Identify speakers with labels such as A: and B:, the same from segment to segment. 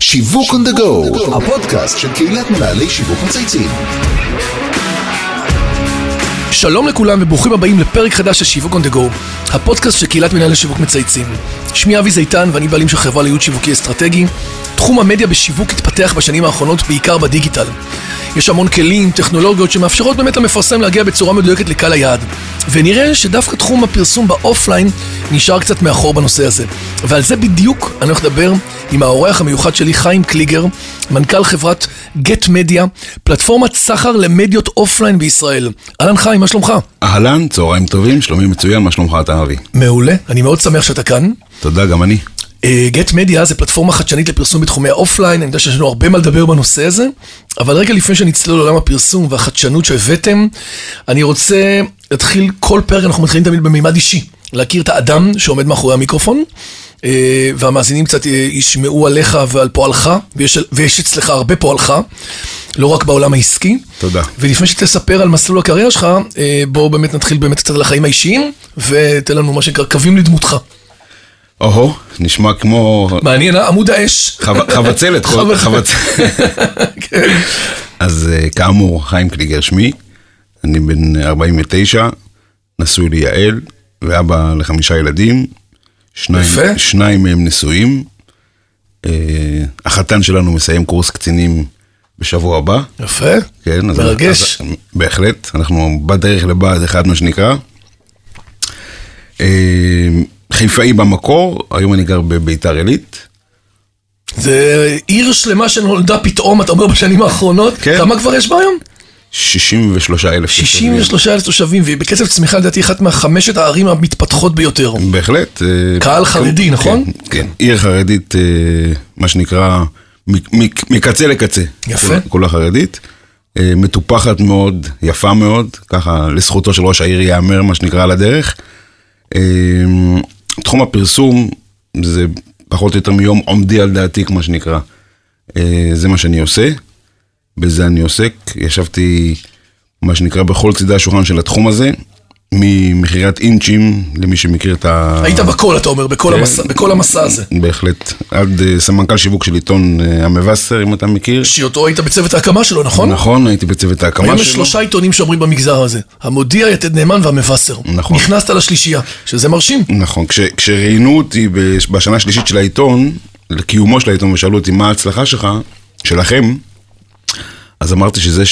A: שיווק on the go, הפודקאסט של קהילת מנהלי שיווק מצייצים.
B: שלום לכולם וברוכים הבאים לפרק חדש של שיווק on the go, הפודקאסט של קהילת מנהלי שיווק מצייצים. שמי אבי זיתן ואני בעלים של חברה לייעוד שיווקי אסטרטגי. תחום המדיה בשיווק התפתח בשנים האחרונות בעיקר בדיגיטל. יש המון כלים, טכנולוגיות שמאפשרות באמת למפרסם להגיע בצורה מדויקת לקהל היעד. ונראה שדווקא תחום הפרסום באופליין נשאר קצת מאחור בנושא הזה. ועל זה בדיוק אני הולך לדבר עם האורח המיוחד שלי, חיים קליגר, מנכ"ל חברת גט מדיה, פלטפורמת סחר למדיות אופליין בישראל. אהלן חיים, מה שלומך?
C: אהלן, צהריים טובים, שלומי מצוין, מה שלומך אתה אבי?
B: מעולה, אני מאוד שמח שאתה כאן.
C: תודה, גם אני.
B: גט מדיה אה, זה פלטפורמה חדשנית לפרסום בתחומי האופליין, אני יודע שיש לנו הרבה מה לדבר בנושא הזה, אבל רגע לפני שנצלול לעולם הפרסום והחדשנות שהבאתם, אני רוצה להתחיל, כל פרק אנחנו מתחילים תמיד במימד אישי, להכיר את האדם שעומד מאחורי המיקרופון, אה, והמאזינים קצת אה, ישמעו עליך ועל פועלך, ויש, ויש אצלך הרבה פועלך, לא רק בעולם העסקי.
C: תודה.
B: ולפני שתספר על מסלול הקריירה שלך, אה, בואו באמת נתחיל באמת קצת על החיים האישיים, ותן לנו מה שנקרא קווים לדמותך.
C: או-הו, נשמע כמו
B: מעניין, אה? עמוד האש.
C: חב- חבצלת. כל-
B: חבצלת.
C: חבצ-
B: כן.
C: אז אה, כאמור, חיים קליגר שמי, אני בן 49, נשוי ליעל, ואבא לחמישה ילדים, שניים,
B: יפה.
C: שניים מהם נשואים. אה, החתן שלנו מסיים קורס קצינים בשבוע הבא.
B: יפה.
C: כן, אז-
B: מרגש.
C: אז- בהחלט, אנחנו בדרך לבה"ד 1, מה שנקרא. אה, חיפאי במקור, היום אני גר בביתר עילית.
B: זה עיר שלמה שנולדה פתאום, אתה אומר, בשנים האחרונות.
C: כן.
B: כמה כבר יש בה היום?
C: 63 אלף.
B: 63 אלף תושבים, והיא בקצב צמיחה לדעתי אחת מהחמשת הערים המתפתחות ביותר.
C: בהחלט. אה,
B: קהל חרדי,
C: כן,
B: נכון?
C: כן, כן, עיר חרדית, אה, מה שנקרא, מ- מ- מקצה לקצה.
B: יפה.
C: כולה- כולה חרדית. אה, מטופחת מאוד, יפה מאוד, ככה לזכותו של ראש העיר ייאמר, מה שנקרא, על הדרך. אה, תחום הפרסום זה פחות או יותר מיום עומדי על דעתי, כמו שנקרא. אה, זה מה שאני עושה, בזה אני עוסק. ישבתי, מה שנקרא, בכל צידי השולחן של התחום הזה, ממכירת אינצ'ים, למי שמכיר את ה...
B: היית בכל, אתה אומר,
C: כן.
B: בכל המסע- בכל המסע הזה.
C: בהחלט. עד אה, סמנכ"ל שיווק של עיתון אה, המבשר, אם אתה מכיר.
B: שאותו היית בצוות ההקמה שלו, נכון?
C: נכון, הייתי בצוות ההקמה שלו.
B: היום יש שלושה עיתונים שאומרים במגזר הזה. המודיע, יתד נאמן והמבשר.
C: נכון.
B: נכנסת לשלישייה, שזה מרשים.
C: נכון, כש, כשראיינו אותי בש- בשנה השלישית של העיתון, לקיומו של העיתון, ושאלו אותי מה ההצלחה שלך, שלכם, אז אמרתי שזה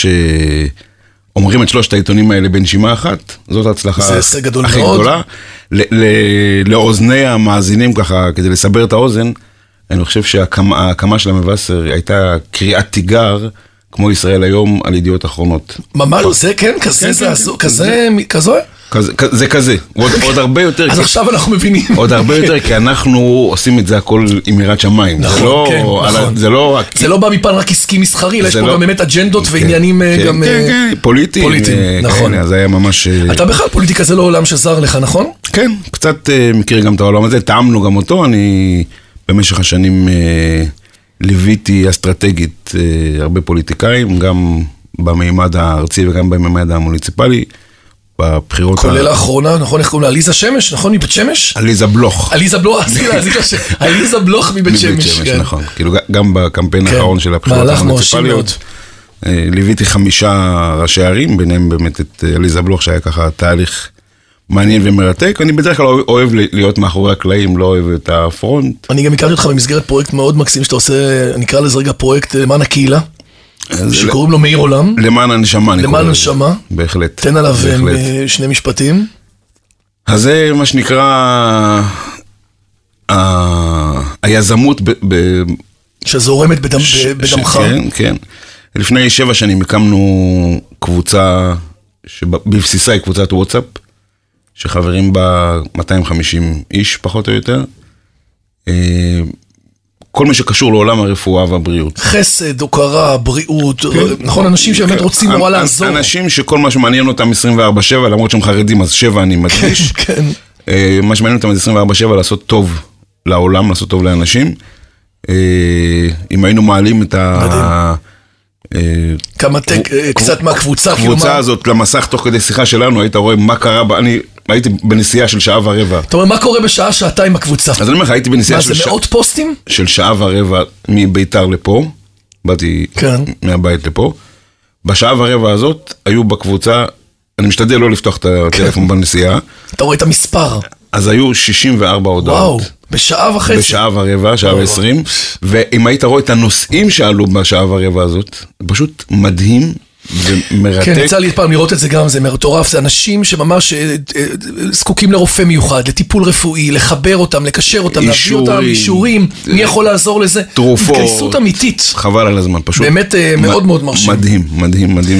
C: שאומרים את שלושת העיתונים האלה בנשימה אחת, זאת ההצלחה
B: זה הישג גדול
C: הכי
B: מאוד.
C: גדולה. ל, ל, לאוזני המאזינים ככה, כדי לסבר את האוזן, אני חושב שההקמה ההקמה של המבשר הייתה קריאת תיגר, כמו ישראל היום, על ידיעות אחרונות.
B: ממש, זה כן, כזה,
C: כן,
B: זה
C: כן,
B: הזו-
C: כן,
B: כזה, כזה.
C: כזה, כ- זה כזה, עוד, עוד הרבה יותר.
B: אז
C: כי-
B: עכשיו אנחנו מבינים.
C: עוד הרבה יותר, כי אנחנו עושים את זה הכל עם יראת שמיים. זה
B: נכון,
C: לא-
B: כן,
C: על ה-
B: נכון.
C: זה לא רק...
B: זה לא בא מפן רק עסקי מסחרי, אלא יש
C: זה
B: פה
C: לא-
B: גם באמת אג'נדות
C: כן,
B: ועניינים אה,
C: כן,
B: גם...
C: כן,
B: אה,
C: כן, פוליטיים.
B: פוליטיים,
C: אה,
B: נכון.
C: כאלה, אז היה ממש... אה,
B: אתה בכלל פוליטיקה זה לא עולם שזר לך, נכון?
C: כן, קצת אה, מכיר גם את העולם הזה, טעמנו גם אותו, אני במשך השנים אה, ליוויתי אסטרטגית אה, הרבה פוליטיקאים, גם במימד הארצי וגם במימד המוניציפלי, בבחירות...
B: כולל
C: ה-
B: האחרונה, נכון? איך קוראים לה? עליזה שמש, נכון? מבית שמש?
C: עליזה בלוך.
B: עליזה בלוך, אז הנה, עליזה ש- עליזה בלוך מבית שמש. כן.
C: נכון. כאילו ג- גם בקמפיין
B: כן.
C: האחרון של הבחירות
B: מהלך מרשים
C: המוניציפליות. אה, ליוויתי חמישה ראשי ערים, ביניהם באמת את אה, עליזה בלוך, שהיה ככה תהליך מעניין ומרתק. אני בדרך כלל אוהב- אוהב ל- להיות מאחורי הקלעים, לא אוהב את הפרונט.
B: אני גם הכרתי אותך במסגרת פרויקט מאוד מקסים שאתה עושה, נקרא לזה רגע פרויקט אה, למען הקהילה,
C: אז
B: שקוראים לו מאיר עולם.
C: למען הנשמה, אני
B: למען
C: קורא לזה.
B: הנשמה?
C: בהחלט.
B: תן עליו אה,
C: בהחלט.
B: שני משפטים.
C: אז זה מה שנקרא ה- היזמות ב- ב-
B: שזורמת בדם-
C: ש-
B: בדמך.
C: ש- כן, כן. לפני שבע שנים הקמנו קבוצה שבבסיסה היא קבוצת וואטסאפ, שחברים בה 250 איש פחות או יותר. אה, כל מה שקשור לעולם הרפואה והבריאות.
B: חסד, הוקרה, בריאות, נכון? אנשים שבאמת
C: כן,
B: רוצים
C: אנ-
B: נורא
C: אנ-
B: לעזור.
C: אנשים שכל מה שמעניין אותם 24-7, למרות שהם חרדים, אז 7 אני מדגיש.
B: כן.
C: אה, מה שמעניין אותם זה 24-7 לעשות טוב לעולם, לעשות טוב לאנשים. אה, אם היינו מעלים את ה... אה,
B: כמה טק, אה, קצת מהקבוצה, כאילו
C: הקבוצה
B: מה...
C: הזאת למסך תוך כדי שיחה שלנו, היית רואה מה קרה, ב- אני הייתי בנסיעה של שעה ורבע.
B: אתה אומר, מה קורה בשעה, שעתיים עם הקבוצה?
C: אז אני אומר לך, הייתי בנסיעה
B: מה,
C: של,
B: זה
C: שע...
B: מאות פוסטים?
C: של שעה ורבע מביתר לפה, באתי
B: כן.
C: מהבית לפה. בשעה ורבע הזאת היו בקבוצה, אני משתדל לא לפתוח את
B: כן.
C: הטלפון בנסיעה,
B: אתה רואה את המספר.
C: אז היו 64 הודעות.
B: וואו, בשעה וחצי.
C: בשעה ורבע, שעה ועשרים, ואם היית רואה את הנושאים שעלו בשעה ורבע הזאת, פשוט מדהים ומרתק.
B: כן, יצא לי פעם לראות את זה גם, זה מטורף, זה אנשים שממש אה, אה, זקוקים לרופא מיוחד, לטיפול רפואי, לחבר אותם, לקשר אותם, להביא
C: אישורים. אה,
B: אותם, אישורים, מי יכול לעזור לזה?
C: תרופות.
B: התגייסות אמיתית.
C: חבל על הזמן, פשוט.
B: באמת, אה, מאוד מאוד מרשים.
C: מדהים, מדהים, מדהים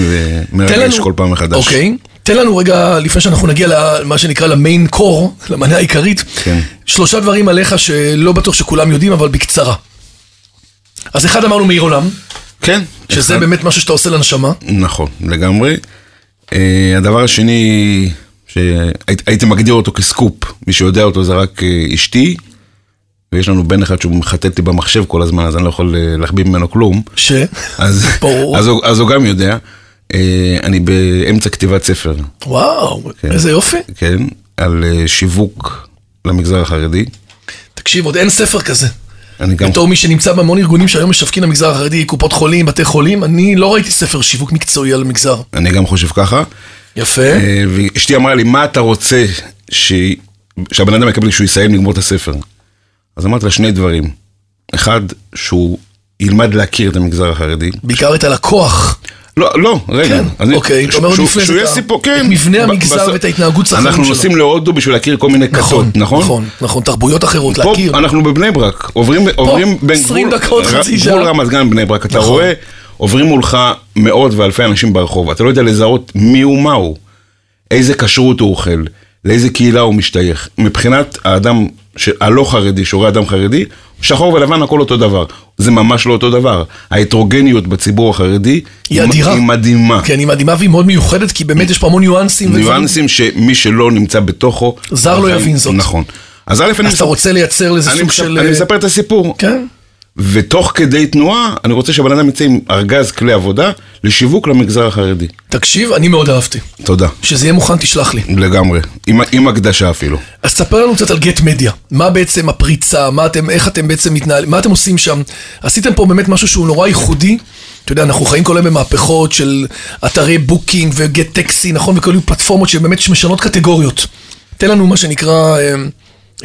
B: תן
C: ומרגש כל פעם מחדש.
B: אוקיי. תן לנו רגע, לפני שאנחנו נגיע למה שנקרא למיין קור, למנה העיקרית,
C: כן.
B: שלושה דברים עליך שלא בטוח שכולם יודעים, אבל בקצרה. אז אחד אמרנו מאיר עולם,
C: כן.
B: שזה
C: אחד-
B: באמת משהו שאתה עושה לנשמה.
C: נכון, לגמרי. אה, הדבר השני, שהייתי מגדיר אותו כסקופ, מי שיודע אותו זה רק אה, אשתי, ויש לנו בן אחד שהוא מחטט לי במחשב כל הזמן, אז אני לא יכול אה, להחביא ממנו כלום.
B: ש...
C: אז,
B: ברור.
C: אז, הוא- אז הוא גם יודע. אה, אני באמצע כתיבת ספר,
B: וואו, איזה יופי.
C: כן? על אה, שיווק למגזר החרדי.
B: תקשיב, עוד אין ספר כזה.
C: אני גם...
B: בתור מי שנמצא בהמון ארגונים שהיום משווקים למגזר החרדי, קופות חולים, בתי חולים, אני לא ראיתי ספר שיווק מקצועי על מגזר.
C: אני גם חושב ככה.
B: יפה.
C: אה, ואשתי אמרה לי, מה אתה רוצה ש... שהבן אדם יקבל כשהוא יסיים לגמור את הספר? אז אמרתי לה שני דברים. אחד, שהוא ילמד להכיר את המגזר החרדי.
B: בעיקר את הלקוח.
C: לא, לא, רגע.
B: כן,
C: אני-
B: אוקיי, אתה
C: ש-
B: אומר עוד
C: שהוא-
B: לפני זה
C: שהוא
B: את
C: יהיה
B: ה-
C: סיפור, כן.
B: את מבנה
C: ב-
B: המגזר
C: בס-
B: ואת ההתנהגות סחרור
C: אנחנו
B: שלו.
C: נוסעים להודו בשביל להכיר כל מיני כתות, נכון?
B: נכון, נכון, תרבויות אחרות,
C: פה
B: להכיר.
C: אנחנו בבני ברק, עוברים, עוברים בין
B: 20 דקות,
C: ר-
B: חצי שעה.
C: גבול רמת גן בני ברק, אתה
B: נכון.
C: רואה, עוברים מולך מאות ואלפי אנשים ברחוב, אתה לא יודע לזהות מי הוא מהו, איזה כשרות הוא אוכל, לאיזה קהילה הוא משתייך. מבחינת האדם ש- הלא חרדי, שרואה אדם חרדי, שחור ולבן הכל אותו דבר. זה ממש לא אותו דבר. ההטרוגניות בציבור החרדי
B: היא אדירה.
C: היא מדהימה.
B: כן, היא מדהימה והיא מאוד מיוחדת, כי באמת יש פה המון ניואנסים. ודברים.
C: ניואנסים שמי שלא נמצא בתוכו...
B: זר לא
C: בחיים-
B: יבין זאת.
C: נכון. אז א', אני
B: אז אתה
C: מספר-
B: רוצה לייצר לזה
C: אני
B: סוג
C: מספר-
B: של... אה,
C: אני מספר את הסיפור.
B: כן.
C: ותוך כדי תנועה, אני רוצה שהבן אדם יצא עם ארגז כלי עבודה לשיווק למגזר החרדי.
B: תקשיב, אני מאוד אהבתי.
C: תודה.
B: כשזה יהיה מוכן, תשלח לי.
C: לגמרי. עם, עם הקדשה אפילו.
B: אז תספר לנו קצת על גט מדיה. מה בעצם הפריצה, מה אתם, איך אתם בעצם מתנהלים, מה אתם עושים שם. עשיתם פה באמת משהו שהוא נורא ייחודי. אתה יודע, אנחנו חיים כל היום במהפכות של אתרי בוקינג וגט טקסי, נכון? וכל מיני פלטפורמות שבאמת משנות קטגוריות. תן לנו מה שנקרא אה,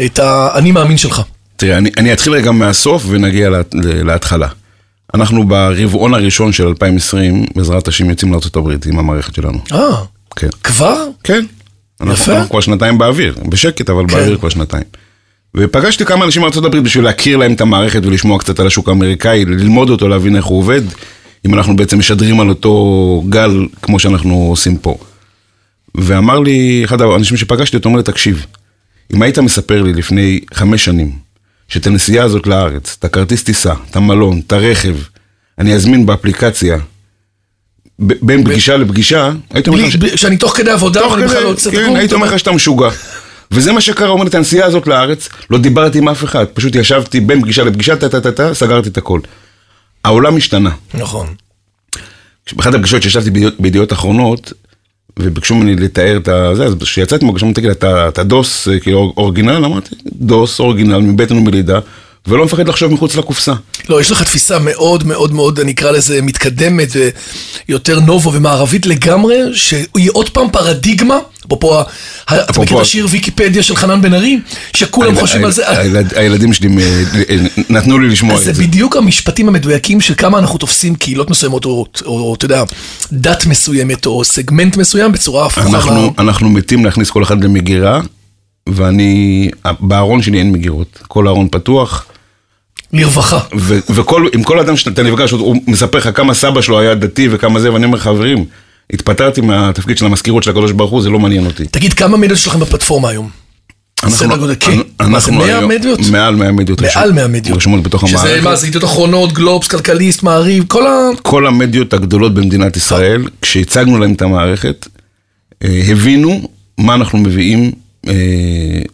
B: את האני מאמין שלך.
C: תראה, אני, אני אתחיל רגע מהסוף ונגיע לה, להתחלה. אנחנו ברבעון הראשון של 2020, בעזרת השם יוצאים לארה"ב עם המערכת שלנו.
B: אה,
C: כן.
B: כבר?
C: כן. אנחנו,
B: יפה.
C: אנחנו כבר שנתיים באוויר, בשקט, אבל
B: כן.
C: באוויר כבר שנתיים. ופגשתי כמה אנשים מארצות הברית בשביל להכיר להם את המערכת ולשמוע קצת על השוק האמריקאי, ללמוד אותו, להבין איך הוא עובד, אם אנחנו בעצם משדרים על אותו גל כמו שאנחנו עושים פה. ואמר לי, אחד האנשים שפגשתי אותו, אומר לי, תקשיב, אם היית מספר לי לפני חמש שנים, שאת הנסיעה הזאת לארץ, את הכרטיס טיסה, את המלון, את הרכב, אני אזמין באפליקציה, ב- בין פגישה לפגישה, הייתי אומר לך...
B: בלי,
C: ש-
B: בלי, שאני תוך כדי עבודה,
C: תוך
B: אבל אני בכלל לא
C: כדי,
B: יוצא
C: כן, הייתי אומר לך שאתה משוגע. וזה מה שקרה, אומר את הנסיעה הזאת לארץ, לא דיברתי עם אף אחד, פשוט ישבתי בין פגישה לפגישה, טה טה טה טה, סגרתי את הכל. העולם השתנה.
B: נכון.
C: באחת הפגישות שישבתי בידיעות- בידיעות אחרונות, וביקשו ממני לתאר את ה... זה, אז כשיצאתי מהפגישה, אמרתי, תגיד, אתה אתה דוס, אה, כאילו, אורגינל? אמרתי, דוס, אורגינל, מבטן ומלידה, ולא מפחד לחשוב מחוץ לקופסה.
B: לא, יש לך תפיסה מאוד מאוד מאוד, אני אקרא לזה, מתקדמת, אה, יותר נובו ומערבית לגמרי, שהיא עוד פעם פרדיגמה, אפרופו, ה- ה- אתה מכיר את השיר ויקיפדיה של חנן בן ארי? שכולם חושבים על זה.
C: הילד- הילדים שלי מ- נתנו לי לשמוע את
B: אז
C: זה.
B: זה בדיוק המשפטים המדויקים של כמה אנחנו תופסים קהילות מסוימות, או, או, או אתה יודע, דת מסוימת, או סגמנט מסוים בצורה הפוכה.
C: אנחנו, אנחנו מתים להכניס כל אחד למגירה, ואני, בארון שלי אין מגירות, כל הארון פתוח,
B: לרווחה.
C: ו, וכל, עם כל אדם שאתה נפגש, הוא הוא מספר לך כמה סבא שלו היה דתי וכמה זה, ואני אומר חברים, התפטרתי מהתפקיד של המזכירות של הקדוש ברוך הוא, זה לא מעניין אותי.
B: תגיד, כמה מדיות שלכם בפלטפורמה היום?
C: אנחנו-
B: סדר גודל, כן.
C: אנ-
B: מה זה,
C: אנחנו
B: 100
C: היום-
B: מדיות?
C: מעל 100 מדיות.
B: מעל
C: רשום-
B: 100 מדיות.
C: רשומות בתוך
B: שזה מה,
C: המערכת.
B: זה עיתות אחרונות, גלובס, כלכליסט, מעריב, כל ה...
C: כל המדיות הגדולות במדינת ישראל, כשהצגנו להם את המערכת, אה, הבינו מה אנחנו מביאים אה,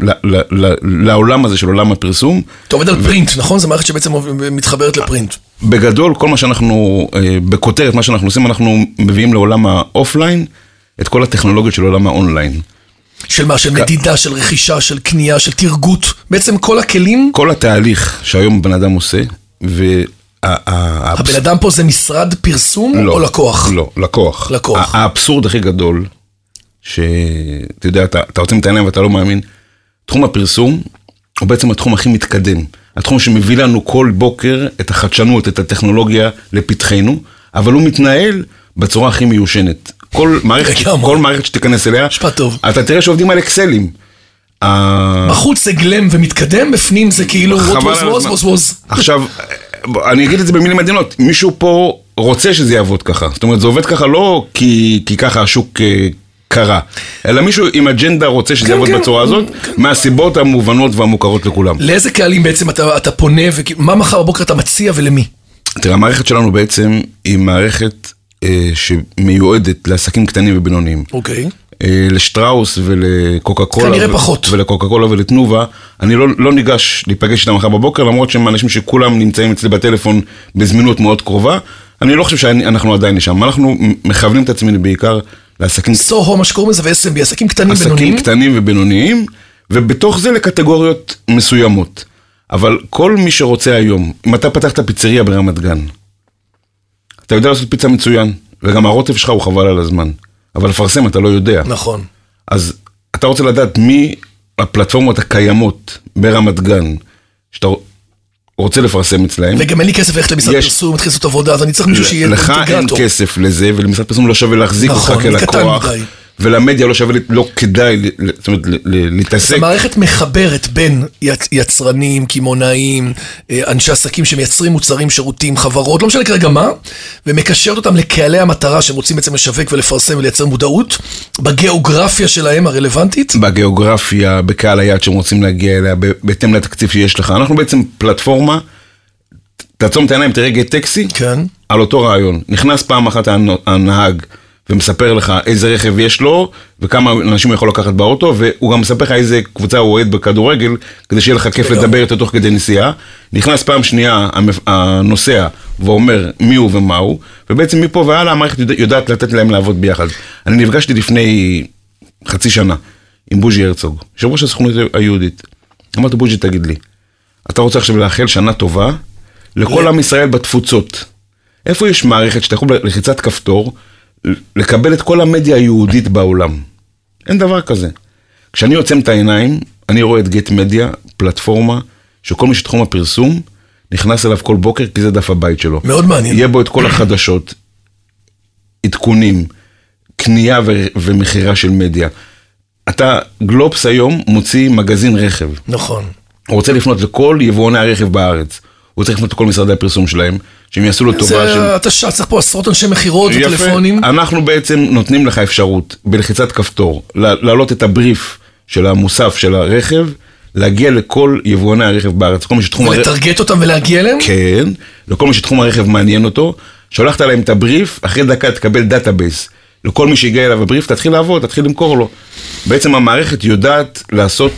C: ל- ל- ל- לעולם הזה של עולם הפרסום.
B: אתה עובד על פרינט, נכון? זו מערכת שבעצם מתחברת לפרינט.
C: בגדול, כל מה שאנחנו, אה, בכותרת, מה שאנחנו עושים, אנחנו מביאים לעולם האופליין את כל הטכנולוגיות של עולם האונליין.
B: של מה? של מדידה, של רכישה, של קנייה, של תרגות. בעצם כל הכלים,
C: כל התהליך שהיום בן אדם עושה, וה... ה-
B: הבן אדם פה זה משרד פרסום או לקוח?
C: לא, לקוח.
B: לקוח.
C: ה- האבסורד הכי גדול, שאתה יודע, אתה, אתה עוצם את העיניים ואתה לא מאמין, תחום הפרסום הוא בעצם התחום הכי מתקדם. התחום שמביא לנו כל בוקר את החדשנות, את הטכנולוגיה לפתחנו, אבל הוא מתנהל בצורה הכי מיושנת. כל מערכת,
B: לגמרי.
C: כל מערכת שתיכנס אליה,
B: משפט טוב.
C: אתה תראה שעובדים על אקסלים. ה-
B: בחוץ זה גלם ומתקדם, בפנים זה כאילו what
C: חבל
B: was
C: על
B: was
C: הזמן.
B: was was.
C: עכשיו, אני אגיד את זה במילים עדינות, מישהו פה רוצה שזה יעבוד ככה. זאת אומרת, זה עובד ככה לא כי, כי ככה השוק אה, קרה, אלא מישהו עם אג'נדה רוצה שזה
B: כן,
C: יעבוד
B: כן.
C: בצורה הזאת, מהסיבות המובנות והמוכרות לכולם.
B: לאיזה קהלים בעצם אתה, אתה פונה, ומה מחר בבוקר אתה מציע ולמי?
C: תראה, המערכת שלנו בעצם היא מערכת אה, שמיועדת לעסקים קטנים ובינוניים.
B: אוקיי.
C: אה, לשטראוס ולקוקה קולה.
B: כנראה
C: ו-
B: פחות.
C: ולקוקה קולה ולתנובה. אני לא, לא ניגש להיפגש איתם מחר בבוקר, למרות שהם אנשים שכולם נמצאים אצלי בטלפון בזמינות מאוד קרובה. אני לא חושב שאנחנו עדיין שם. אנחנו מכוונים את עצמנו בעיקר לעסקים
B: So home, מה שקוראים לזה, ו-SMB, עסקים קטנים בינוניים.
C: עסקים קטנים ובינוניים, ובתוך זה לקטגוריות מסוימות. אבל כל מי שרוצה היום, אם אתה פתחת פיצריה ברמת גן, אתה יודע לעשות פיצה מצוין, וגם הרוטב שלך הוא חבל על הזמן. אבל לפרסם אתה לא יודע.
B: נכון.
C: אז אתה רוצה לדעת מי הפלטפורמות הקיימות ברמת גן, שאתה רוצה לפרסם אצלהם.
B: וגם אין לי כסף ללכת למשרד
C: יש-
B: פרסום, להתחיל לעשות עבודה, אז אני צריך מישהו שיהיה
C: לך אין
B: אינטגרטור.
C: כסף לזה, ולמשרד פרסום לא שווה להחזיק
B: נכון,
C: אותך
B: אני קטן
C: כלקוח,
B: מדי.
C: ולמדיה לא שווה, לא כדאי, ל- זאת אומרת, ל- ל- להתעסק.
B: המערכת מחברת בין יצ- יצרנים, קמעונאים, אה, אנשי עסקים שמייצרים מוצרים, שירותים, חברות, לא משנה כרגע מה, ומקשרת אותם לקהלי המטרה שהם רוצים בעצם לשווק ולפרסם ולייצר מודעות, בגיאוגרפיה שלהם הרלוונטית.
C: בגיאוגרפיה, בקהל היעד שהם רוצים להגיע אליה, ב- בהתאם לתקציב שיש לך. אנחנו בעצם פלטפורמה, תעצום את העיניים, תראה גט טקסי,
B: כן.
C: על אותו רעיון. נכנס פעם אחת הנ- הנהג ומספר לך איזה רכב יש לו וכמה אנשים הוא יכול לקחת באוטו, והוא גם מספר לך איזה קבוצה הוא אוהד בכדורגל, כדי שיהיה לך כיף
B: לגמרי.
C: לדבר איתו תוך כדי נסיעה. נכנס פעם שנייה המפ- הנוסע ואומר מי הוא ומה הוא, ובעצם מפה והלאה המערכת יודע- יודעת לתת להם לעבוד ביחד. אני נפגשתי לפני חצי שנה עם בוז'י הרצוג, יושב ראש הסוכנות היהודית. אמרתי בוז'י תגיד לי, אתה רוצה עכשיו לאחל שנה טובה לכל
B: ל-
C: עם ישראל בתפוצות. איפה יש מערכת שאתה יכול בלחיצת כפתור לקבל את כל המדיה היהודית בעולם? אין דבר כזה. כשאני עוצם את העיניים, אני רואה את גט מדיה, פלטפורמה, שכל מי שתחום הפרסום נכנס אליו כל בוקר, כי זה דף הבית שלו.
B: מאוד מעניין.
C: יהיה בו את כל החדשות, עדכונים, קנייה ו- ומכירה של מדיה. אתה, גלובס היום מוציא מגזין רכב.
B: נכון.
C: הוא רוצה לפנות לכל יבואני הרכב בארץ. הוא צריך לפנות לכל משרדי הפרסום שלהם, שהם יעשו לו טובה של...
B: זה, אתה ש- צריך פה עשרות אנשי מכירות וטלפונים.
C: אנחנו בעצם נותנים לך אפשרות בלחיצת כפתור לה- להעלות את הבריף של המוסף של הרכב, להגיע לכל יבואני הרכב בארץ, כל מי שתחום הרכב...
B: ולטרגט אותם ולהגיע אליהם?
C: כן, לכל מי שתחום הרכב מעניין אותו, שלחת להם את הבריף, אחרי דקה תקבל דאטאבייס. לכל מי שהגיע אליו הבריף, תתחיל לעבוד, תתחיל למכור לו. בעצם המערכת יודעת לעשות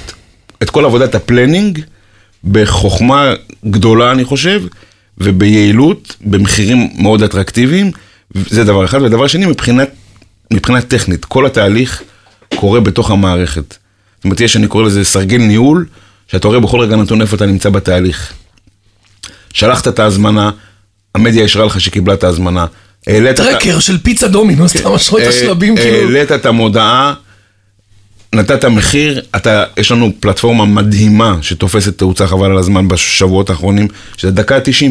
C: את כל עבודת הפלנינג בחוכמה גדולה, אני חושב, וביעילות, במחירים מאוד אטרקטיביים. זה דבר אחד. ודבר שני, מבחינת, מבחינה טכנית, כל התהליך קורה בתוך המערכת. זאת אומרת, יש, אני קורא לזה סרגל ניהול, שאתה רואה בכל רגע נתון איפה אתה נמצא בתהליך. שלחת את ההזמנה, המדיה אישרה לך שקיבלה את ההזמנה. העלית, את ה-
B: טרקר של פיצה דומינו, סתם משהו את
C: אה,
B: השלבים כאילו.
C: העלית את המודעה, נתת מחיר, אתה, יש לנו פלטפורמה מדהימה שתופסת תאוצה חבל על הזמן בשבועות האחרונים, שזה דקה ה-90.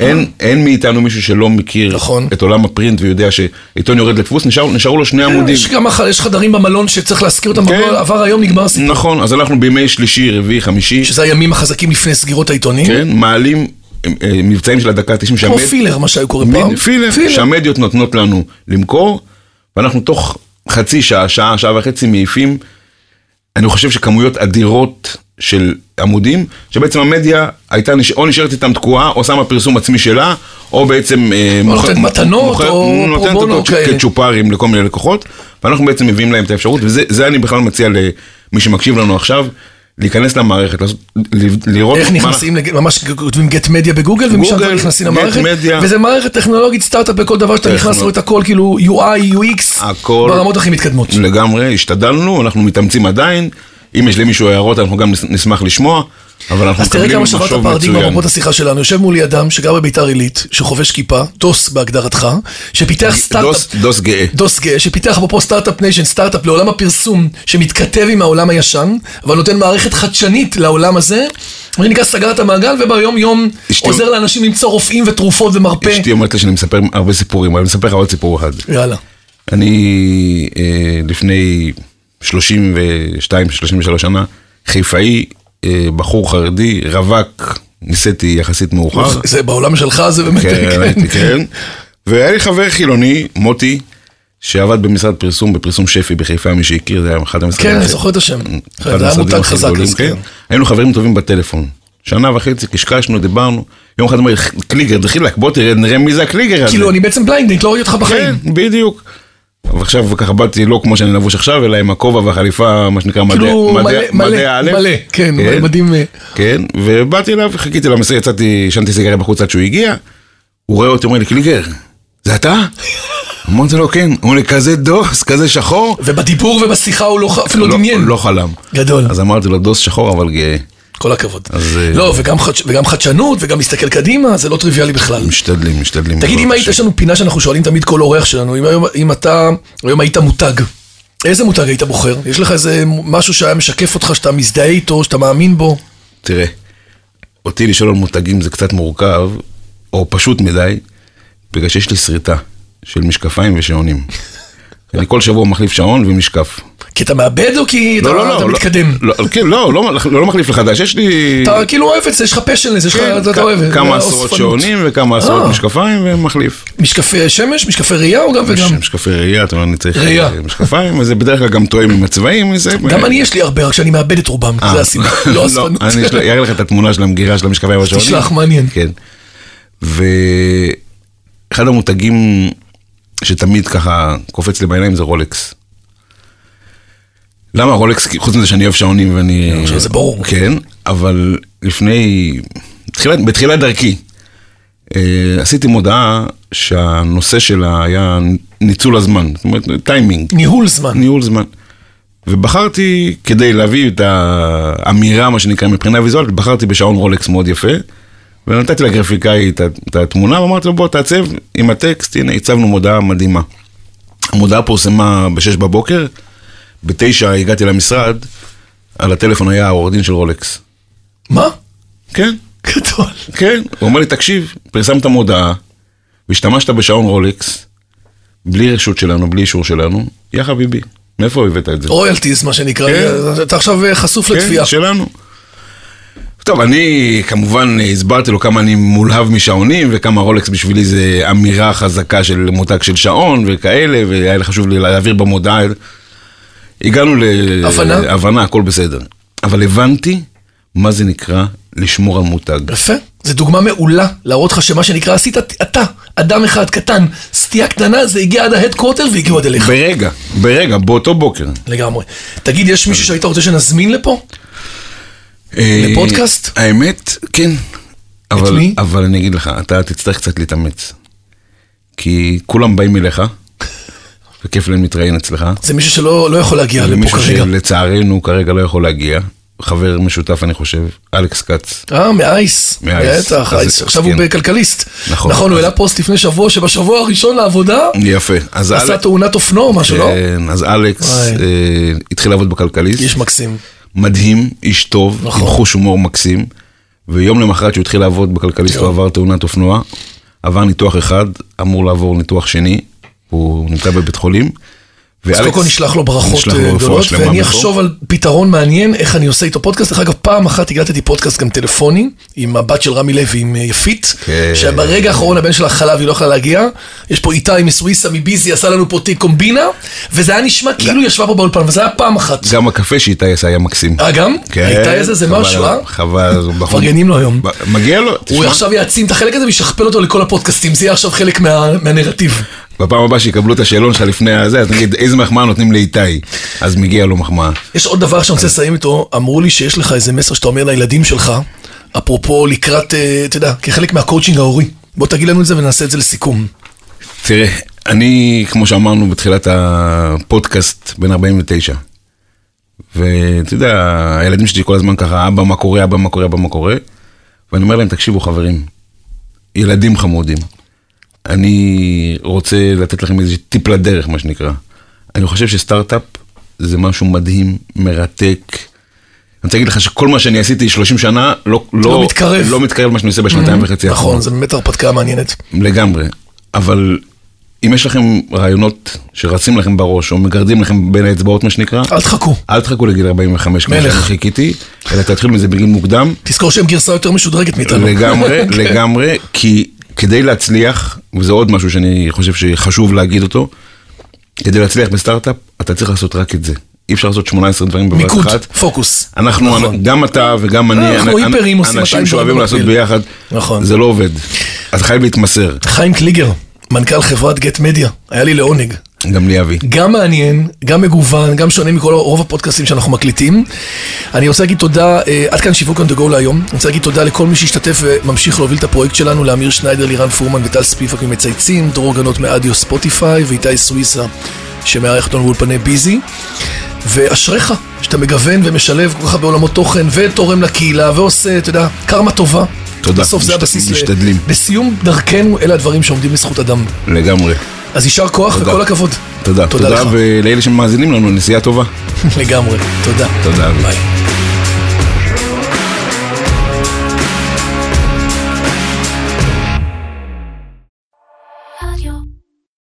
C: אין, אין מאיתנו מישהו שלא מכיר
B: נכון. אה,
C: את עולם הפרינט ויודע שעיתון יורד לדפוס, נשאר, נשארו לו שני עמודים.
B: יש גם אח- יש חדרים במלון שצריך להזכיר אותם,
C: כן.
B: אבל עבר היום נגמר הסיפור.
C: נכון, אז אנחנו בימי שלישי, רביעי, חמישי,
B: שזה הימים החזקים לפני סגירות העיתונים.
C: כן, מעלים אה, אה, מבצעים של הדקה ה-90
B: כמו
C: שהמד...
B: פילר, מה שהיו קוראים פעם.
C: מין פילר, שהמדיות נותנות לנו למכור, ואנחנו תוך חצי שעה, שעה, שעה וחצי מעיפים, אני חושב שכמויות אדירות של עמודים, שבעצם המדיה הייתה נש... או נשארת איתם תקועה, או שמה פרסום עצמי שלה, או בעצם... אה,
B: נותנת מתנות, או
C: נותנת
B: פרו בונו
C: אותו
B: כאלה.
C: כצ'ופרים לכל מיני לקוחות, ואנחנו בעצם מביאים להם את האפשרות, וזה זה אני בכלל מציע למי שמקשיב לנו עכשיו. להיכנס למערכת, לעשות- ל- לראות...
B: איך
C: מה-
B: נכנסים, לג- ממש כותבים גט מדיה בגוגל, ומשם
C: גוגל,
B: כבר נכנסים
C: גט
B: למערכת,
C: מדיה.
B: וזה מערכת טכנולוגית, סטארט-אפ בכל דבר שאתה נכנס,
C: טכנו-
B: רואה את הכל, כאילו UI, UX,
C: הכל.
B: ברמות הכי מתקדמות.
C: לגמרי, השתדלנו, אנחנו מתאמצים עדיין. אם יש למישהו הערות, אנחנו גם נס- נשמח לשמוע, אבל אנחנו
B: אז תראה
C: מקבלים
B: כמה שברת
C: משוב
B: פרדיגמה
C: מצוין.
B: במרות השיחה שלנו. יושב מולי אדם שגר בביתר עילית, שחובש כיפה, דוס בהגדרתך, שפיתח סטארט-אפ...
C: דוס- דוס גאה.
B: דוס גאה, שפיתח אפרופו סטארט-אפ ניישן, סטארט-אפ לעולם הפרסום, שמתכתב עם העולם הישן, אבל נותן מערכת חדשנית לעולם הזה. מה שנקרא, סגר את המעגל, וביום יום
C: אשתי-
B: עוזר לאנשים למצוא רופאים ותרופות ומרפא.
C: אשתי אומרת לי שאני מספר הרבה סיפורים, אבל אני מספר לך עוד סיפור אחד.
B: יאללה.
C: אני אה, לפני 32-33 שנה, חיפאי, אה, בחור חרדי, רווק, נישאתי יחסית מאוחר.
B: זה בעולם שלך, זה באמת...
C: אה. כן,
B: כן.
C: הייתי, כן. והיה לי חבר חילוני, מוטי, שעבד במשרד פרסום, בפרסום שפי בחיפה, מי שהכיר, זה היה אחד המשרדים.
B: כן, אני
C: הכי-
B: זוכר את השם.
C: אחד
B: זה היה
C: המשרדים
B: מותג
C: הכי
B: חזק.
C: גדולים,
B: אז
C: כן.
B: כן.
C: היינו חברים טובים בטלפון. שנה וחצי קשקשנו, דיברנו. יום אחד אמר, קליגר, דחילק, בוא תראה, נראה מי זה הקליגר הזה.
B: כאילו, אני בעצם בליינדינג, לא ראיתי אותך בחיים.
C: כן, בדיוק. ועכשיו ככה באתי לא כמו שאני לבוש עכשיו, אלא עם הכובע והחליפה, מה שנקרא, מדעי
B: כאילו,
C: מדעי-
B: מלא, מלא,
C: מדעי א'.
B: מלא, כן, מדהים, אה.
C: כן, ובאתי אליו, חיכיתי לו, מסי- יצאתי, עישנתי סיגריה בחוץ עד שהוא הגיע, הוא רואה אותי, אומר לי, קליגר, זה אתה? אמרתי לו, כן. הוא אומר לי, כזה דוס, כזה שחור.
B: ובדיבור ובשיחה הוא לא, ח- אפילו לא
C: לא-
B: דמיין.
C: לא חלם.
B: גדול.
C: אז אמרתי לו, דוס שחור אבל גאה.
B: כל הכבוד.
C: אז, אה,
B: לא, וגם, חדש, וגם חדשנות, וגם להסתכל קדימה, זה לא טריוויאלי בכלל.
C: משתדלים, משתדלים.
B: תגיד, אם
C: בעזרת
B: היית,
C: השם.
B: יש לנו פינה שאנחנו שואלים תמיד כל אורח שלנו, אם, היום, אם אתה, היום היית מותג, איזה מותג היית בוחר? יש לך איזה משהו שהיה משקף אותך, שאתה מזדהה איתו, שאתה מאמין בו?
C: תראה, אותי לשאול על מותגים זה קצת מורכב, או פשוט מדי, בגלל שיש לי שריטה של משקפיים ושעונים. אני כל שבוע מחליף שעון ומשקף.
B: כי אתה מאבד או כי אתה, אתה מתקדם?
C: לא, כן, לא, לא, לא מחליף לחדש, יש לי...
B: אתה כאילו אוהב את זה, יש לך פשן לזה, יש לך,
C: כן,
B: אתה, אתה
C: כ-
B: אוהב. אה, את זה,
C: כמה
B: זה
C: עשרות
B: האוספנות.
C: שעונים וכמה
B: אה.
C: עשרות משקפיים ומחליף.
B: משקפי שמש, משקפי ראייה או גם וגם?
C: משקפי ראייה, אתה אומר, אני צריך
B: ראייה.
C: אה, משקפיים, וזה בדרך כלל גם תואם עם הצבעים, זה...
B: גם אני יש לי הרבה, רק שאני מאבד את רובם, זה הסיבה, לא אספנות.
C: אה. אני אשל- אראה לך את התמונה של המגירה של המשקפיים והשעונים.
B: תשלח, מעניין.
C: כן. ואחד המותגים שתמיד ככה קופץ לי בעיניים זה רולקס. למה רולקס, כי חוץ מזה שאני אוהב שעונים ואני...
B: עכשיו, זה ברור.
C: כן, אבל לפני... בתחילת, בתחילת דרכי, אה, עשיתי מודעה שהנושא שלה היה ניצול הזמן, זאת אומרת טיימינג.
B: ניהול זמן.
C: ניהול זמן. ובחרתי, כדי להביא את האמירה, מה שנקרא, מבחינה ויזואלית, בחרתי בשעון רולקס מאוד יפה, ונתתי לגרפיקאי את ה- את התמונה, ואמרתי לו, בוא תעצב עם הטקסט, הנה, הצבנו מודעה מדהימה. המודעה פורסמה ב-6 בבוקר, ב-9 הגעתי למשרד, על הטלפון היה העורך דין של רולקס.
B: מה?
C: כן,
B: גדול.
C: כן. הוא אומר לי, תקשיב, פרסמת מודעה, והשתמשת בשעון רולקס, בלי רשות שלנו, בלי אישור שלנו, יא חביבי, מאיפה הבאת את זה?
B: רויאלטיז, מה שנקרא,
C: כן.
B: אתה עכשיו אה, חשוף לתביעה.
C: כן, שלנו. טוב, אני כמובן הסברתי לו כמה אני מולהב משעונים, וכמה רולקס בשבילי זה אמירה חזקה של מותג של שעון וכאלה, והיה לי חשוב לי להעביר במודעה. הגענו ל-
B: הבנה?
C: להבנה, הכל בסדר. אבל הבנתי מה זה נקרא לשמור על מותג.
B: יפה. זו דוגמה מעולה להראות לך שמה שנקרא עשית אתה, אדם אחד קטן, סטייה קטנה, זה הגיע עד ההדקווטר והגיעו עד אליך.
C: ברגע, ברגע, באותו בוקר.
B: לגמרי. תגיד, יש מישהו שהיית רוצה שנזמין לפה?
C: אה,
B: לפודקאסט?
C: האמת, כן. אבל,
B: מי?
C: אבל אני אגיד לך, אתה תצטרך קצת להתאמץ. כי כולם באים אליך, וכיף להם להתראיין אצלך.
B: זה מישהו שלא לא יכול להגיע לפה
C: מישהו
B: כרגע.
C: שלצערנו כרגע לא יכול להגיע. חבר משותף, אני חושב, אלכס כץ.
B: אה, מאייס.
C: מאייס.
B: בטח,
C: אז-
B: אייס. עכשיו הוא
C: כן.
B: בכלכליסט.
C: נכון.
B: נכון, הוא
C: אז-
B: העלה פוסט לפני שבוע, שבשבוע הראשון לעבודה,
C: יפה. אז
B: עשה
C: אלכס-
B: תאונת אופנוע או משהו, לא?
C: כן, אז אלכס
B: וואי.
C: אה, התחיל לעבוד בכלכליסט.
B: איש מקסים.
C: מדהים, איש טוב,
B: נכון.
C: נכון. עם חוש הומור מקסים, ויום למחרת שהוא התחיל לעבוד בכלכליסט הוא עבר תאונת אופנוע, עבר ניתוח אחד, אמור לעבור ניתוח שני, הוא נמצא בבית חולים.
B: אז קודם כל נשלח לו ברכות
C: נשלח לו
B: אה,
C: רפואה
B: גדולות,
C: שלמה נכון.
B: ואני
C: מפה.
B: אחשוב על פתרון מעניין, איך אני עושה איתו פודקאסט. דרך אגב, פעם אחת הקלטתי פודקאסט גם טלפוני, עם הבת של רמי לוי, עם אה, יפית,
C: כן.
B: שברגע האחרון הבן שלה חלה והיא לא יכלה להגיע. יש פה איתי מסוויסה מביזי, עשה לנו פה תיק קומבינה, וזה היה נשמע כאילו היא ישבה פה באולפן, וזה היה פעם אחת.
C: גם הקפה שאיתי עשה היה מקסים.
B: אה, גם? איתי איזה זה
C: כן, חבל
B: משהו, אה?
C: עליו, חבל, הוא בחור-
B: מפרגנים לו היום.
C: ב- מגיע לו,
B: הוא
C: תשמע,
B: עכשיו יעצים את החלק הזה וישכפל אותו לכל הפודקאסטים, זה יהיה עכשיו חלק מה- מהנרטיב.
C: בפעם הבאה שיקבלו את השאלון שלך לפני הזה, אז נגיד, איזה מחמאה נותנים לאיתי? אז מגיע לו מחמאה.
B: יש עוד דבר
C: כן.
B: שאני רוצה לסיים איתו, אמרו לי שיש לך איזה מסר שאתה אומר לילדים שלך, אפרופו לקראת, אה, אתה יודע, כחלק מהקואוצ'ינג ההורי. בוא תגיד לנו את זה ונעשה את זה לסיכום.
C: תראה, אני, כמו שאמרנו בתחילת הפודקאסט, בן 49. ואתה יודע, הילדים שלי כל הזמן ככה, אבא, מה קורה, אבא, מה קורה, אבא, מה קורה? ואני אומר להם, תקשיבו חברים, ילדים חמודים. אני רוצה לתת לכם איזה טיפ לדרך, מה שנקרא. אני חושב שסטארט-אפ זה משהו מדהים, מרתק. אני רוצה להגיד לך שכל מה שאני עשיתי 30 שנה, לא, לא,
B: לא מתקרב.
C: לא מתקרב למה שאני עושה בשנתיים וחצי.
B: נכון, זה באמת הרפתקה מעניינת.
C: לגמרי, אבל אם יש לכם רעיונות שרצים לכם בראש, או מגרדים לכם בין האצבעות, מה שנקרא,
B: אל תחכו.
C: אל תחכו לגיל 45, כמו
B: אה. מלך.
C: שאני חיכיתי, אלא תתחילו מזה בגיל מוקדם,
B: תזכור שהם גרסה יותר משודרגת מאיתנו.
C: לגמרי, לגמרי, כי כדי להצליח, וזה עוד משהו שאני חושב שחשוב להגיד אותו, כדי להצליח בסטארט-אפ, אתה צריך לעשות רק את זה. אי אפשר לעשות 18 דברים בבת
B: מיקוד,
C: אחת.
B: פוקוס.
C: אנחנו,
B: נכון.
C: גם אתה וגם אני,
B: אנחנו
C: אנ-
B: היפרים עושים 200
C: אנשים שאוהבים
B: דברים
C: לעשות
B: במקביל.
C: ביחד,
B: נכון.
C: זה לא עובד. אתה חייב להתמסר,
B: חיים קליגר, מנכ"ל חברת גט מדיה, היה לי לעונג.
C: גם לי אבי.
B: גם מעניין, גם מגוון, גם שונה מכל רוב הפודקאסטים שאנחנו מקליטים. אני רוצה להגיד תודה, אה, עד כאן שיווק on the go להיום. אני רוצה להגיד תודה לכל מי שהשתתף וממשיך להוביל את הפרויקט שלנו, לאמיר שניידר, לירן פורמן וטל ספיבק ממצייצים, דרור גנות מאדיו ספוטיפיי ואיתי סוויסה שמארח אותנו באולפני ביזי. ואשריך, שאתה מגוון ומשלב כל כך הרבה עולמות תוכן, ותורם לקהילה, ועושה, אתה יודע, קרמה טובה.
C: תודה.
B: בסוף זה
C: משת-
B: הבסיס. ל-
C: משתדלים.
B: בסיום דרכנו, אלה הדברים שעומדים לזכות אדם.
C: לגמרי.
B: אז יישר כוח
C: תודה.
B: וכל הכבוד.
C: תודה.
B: תודה
C: תודה,
B: לך.
C: ולאלה שמאזינים לנו, נסיעה טובה.
B: לגמרי. תודה.
C: תודה, אבי.
B: ביי.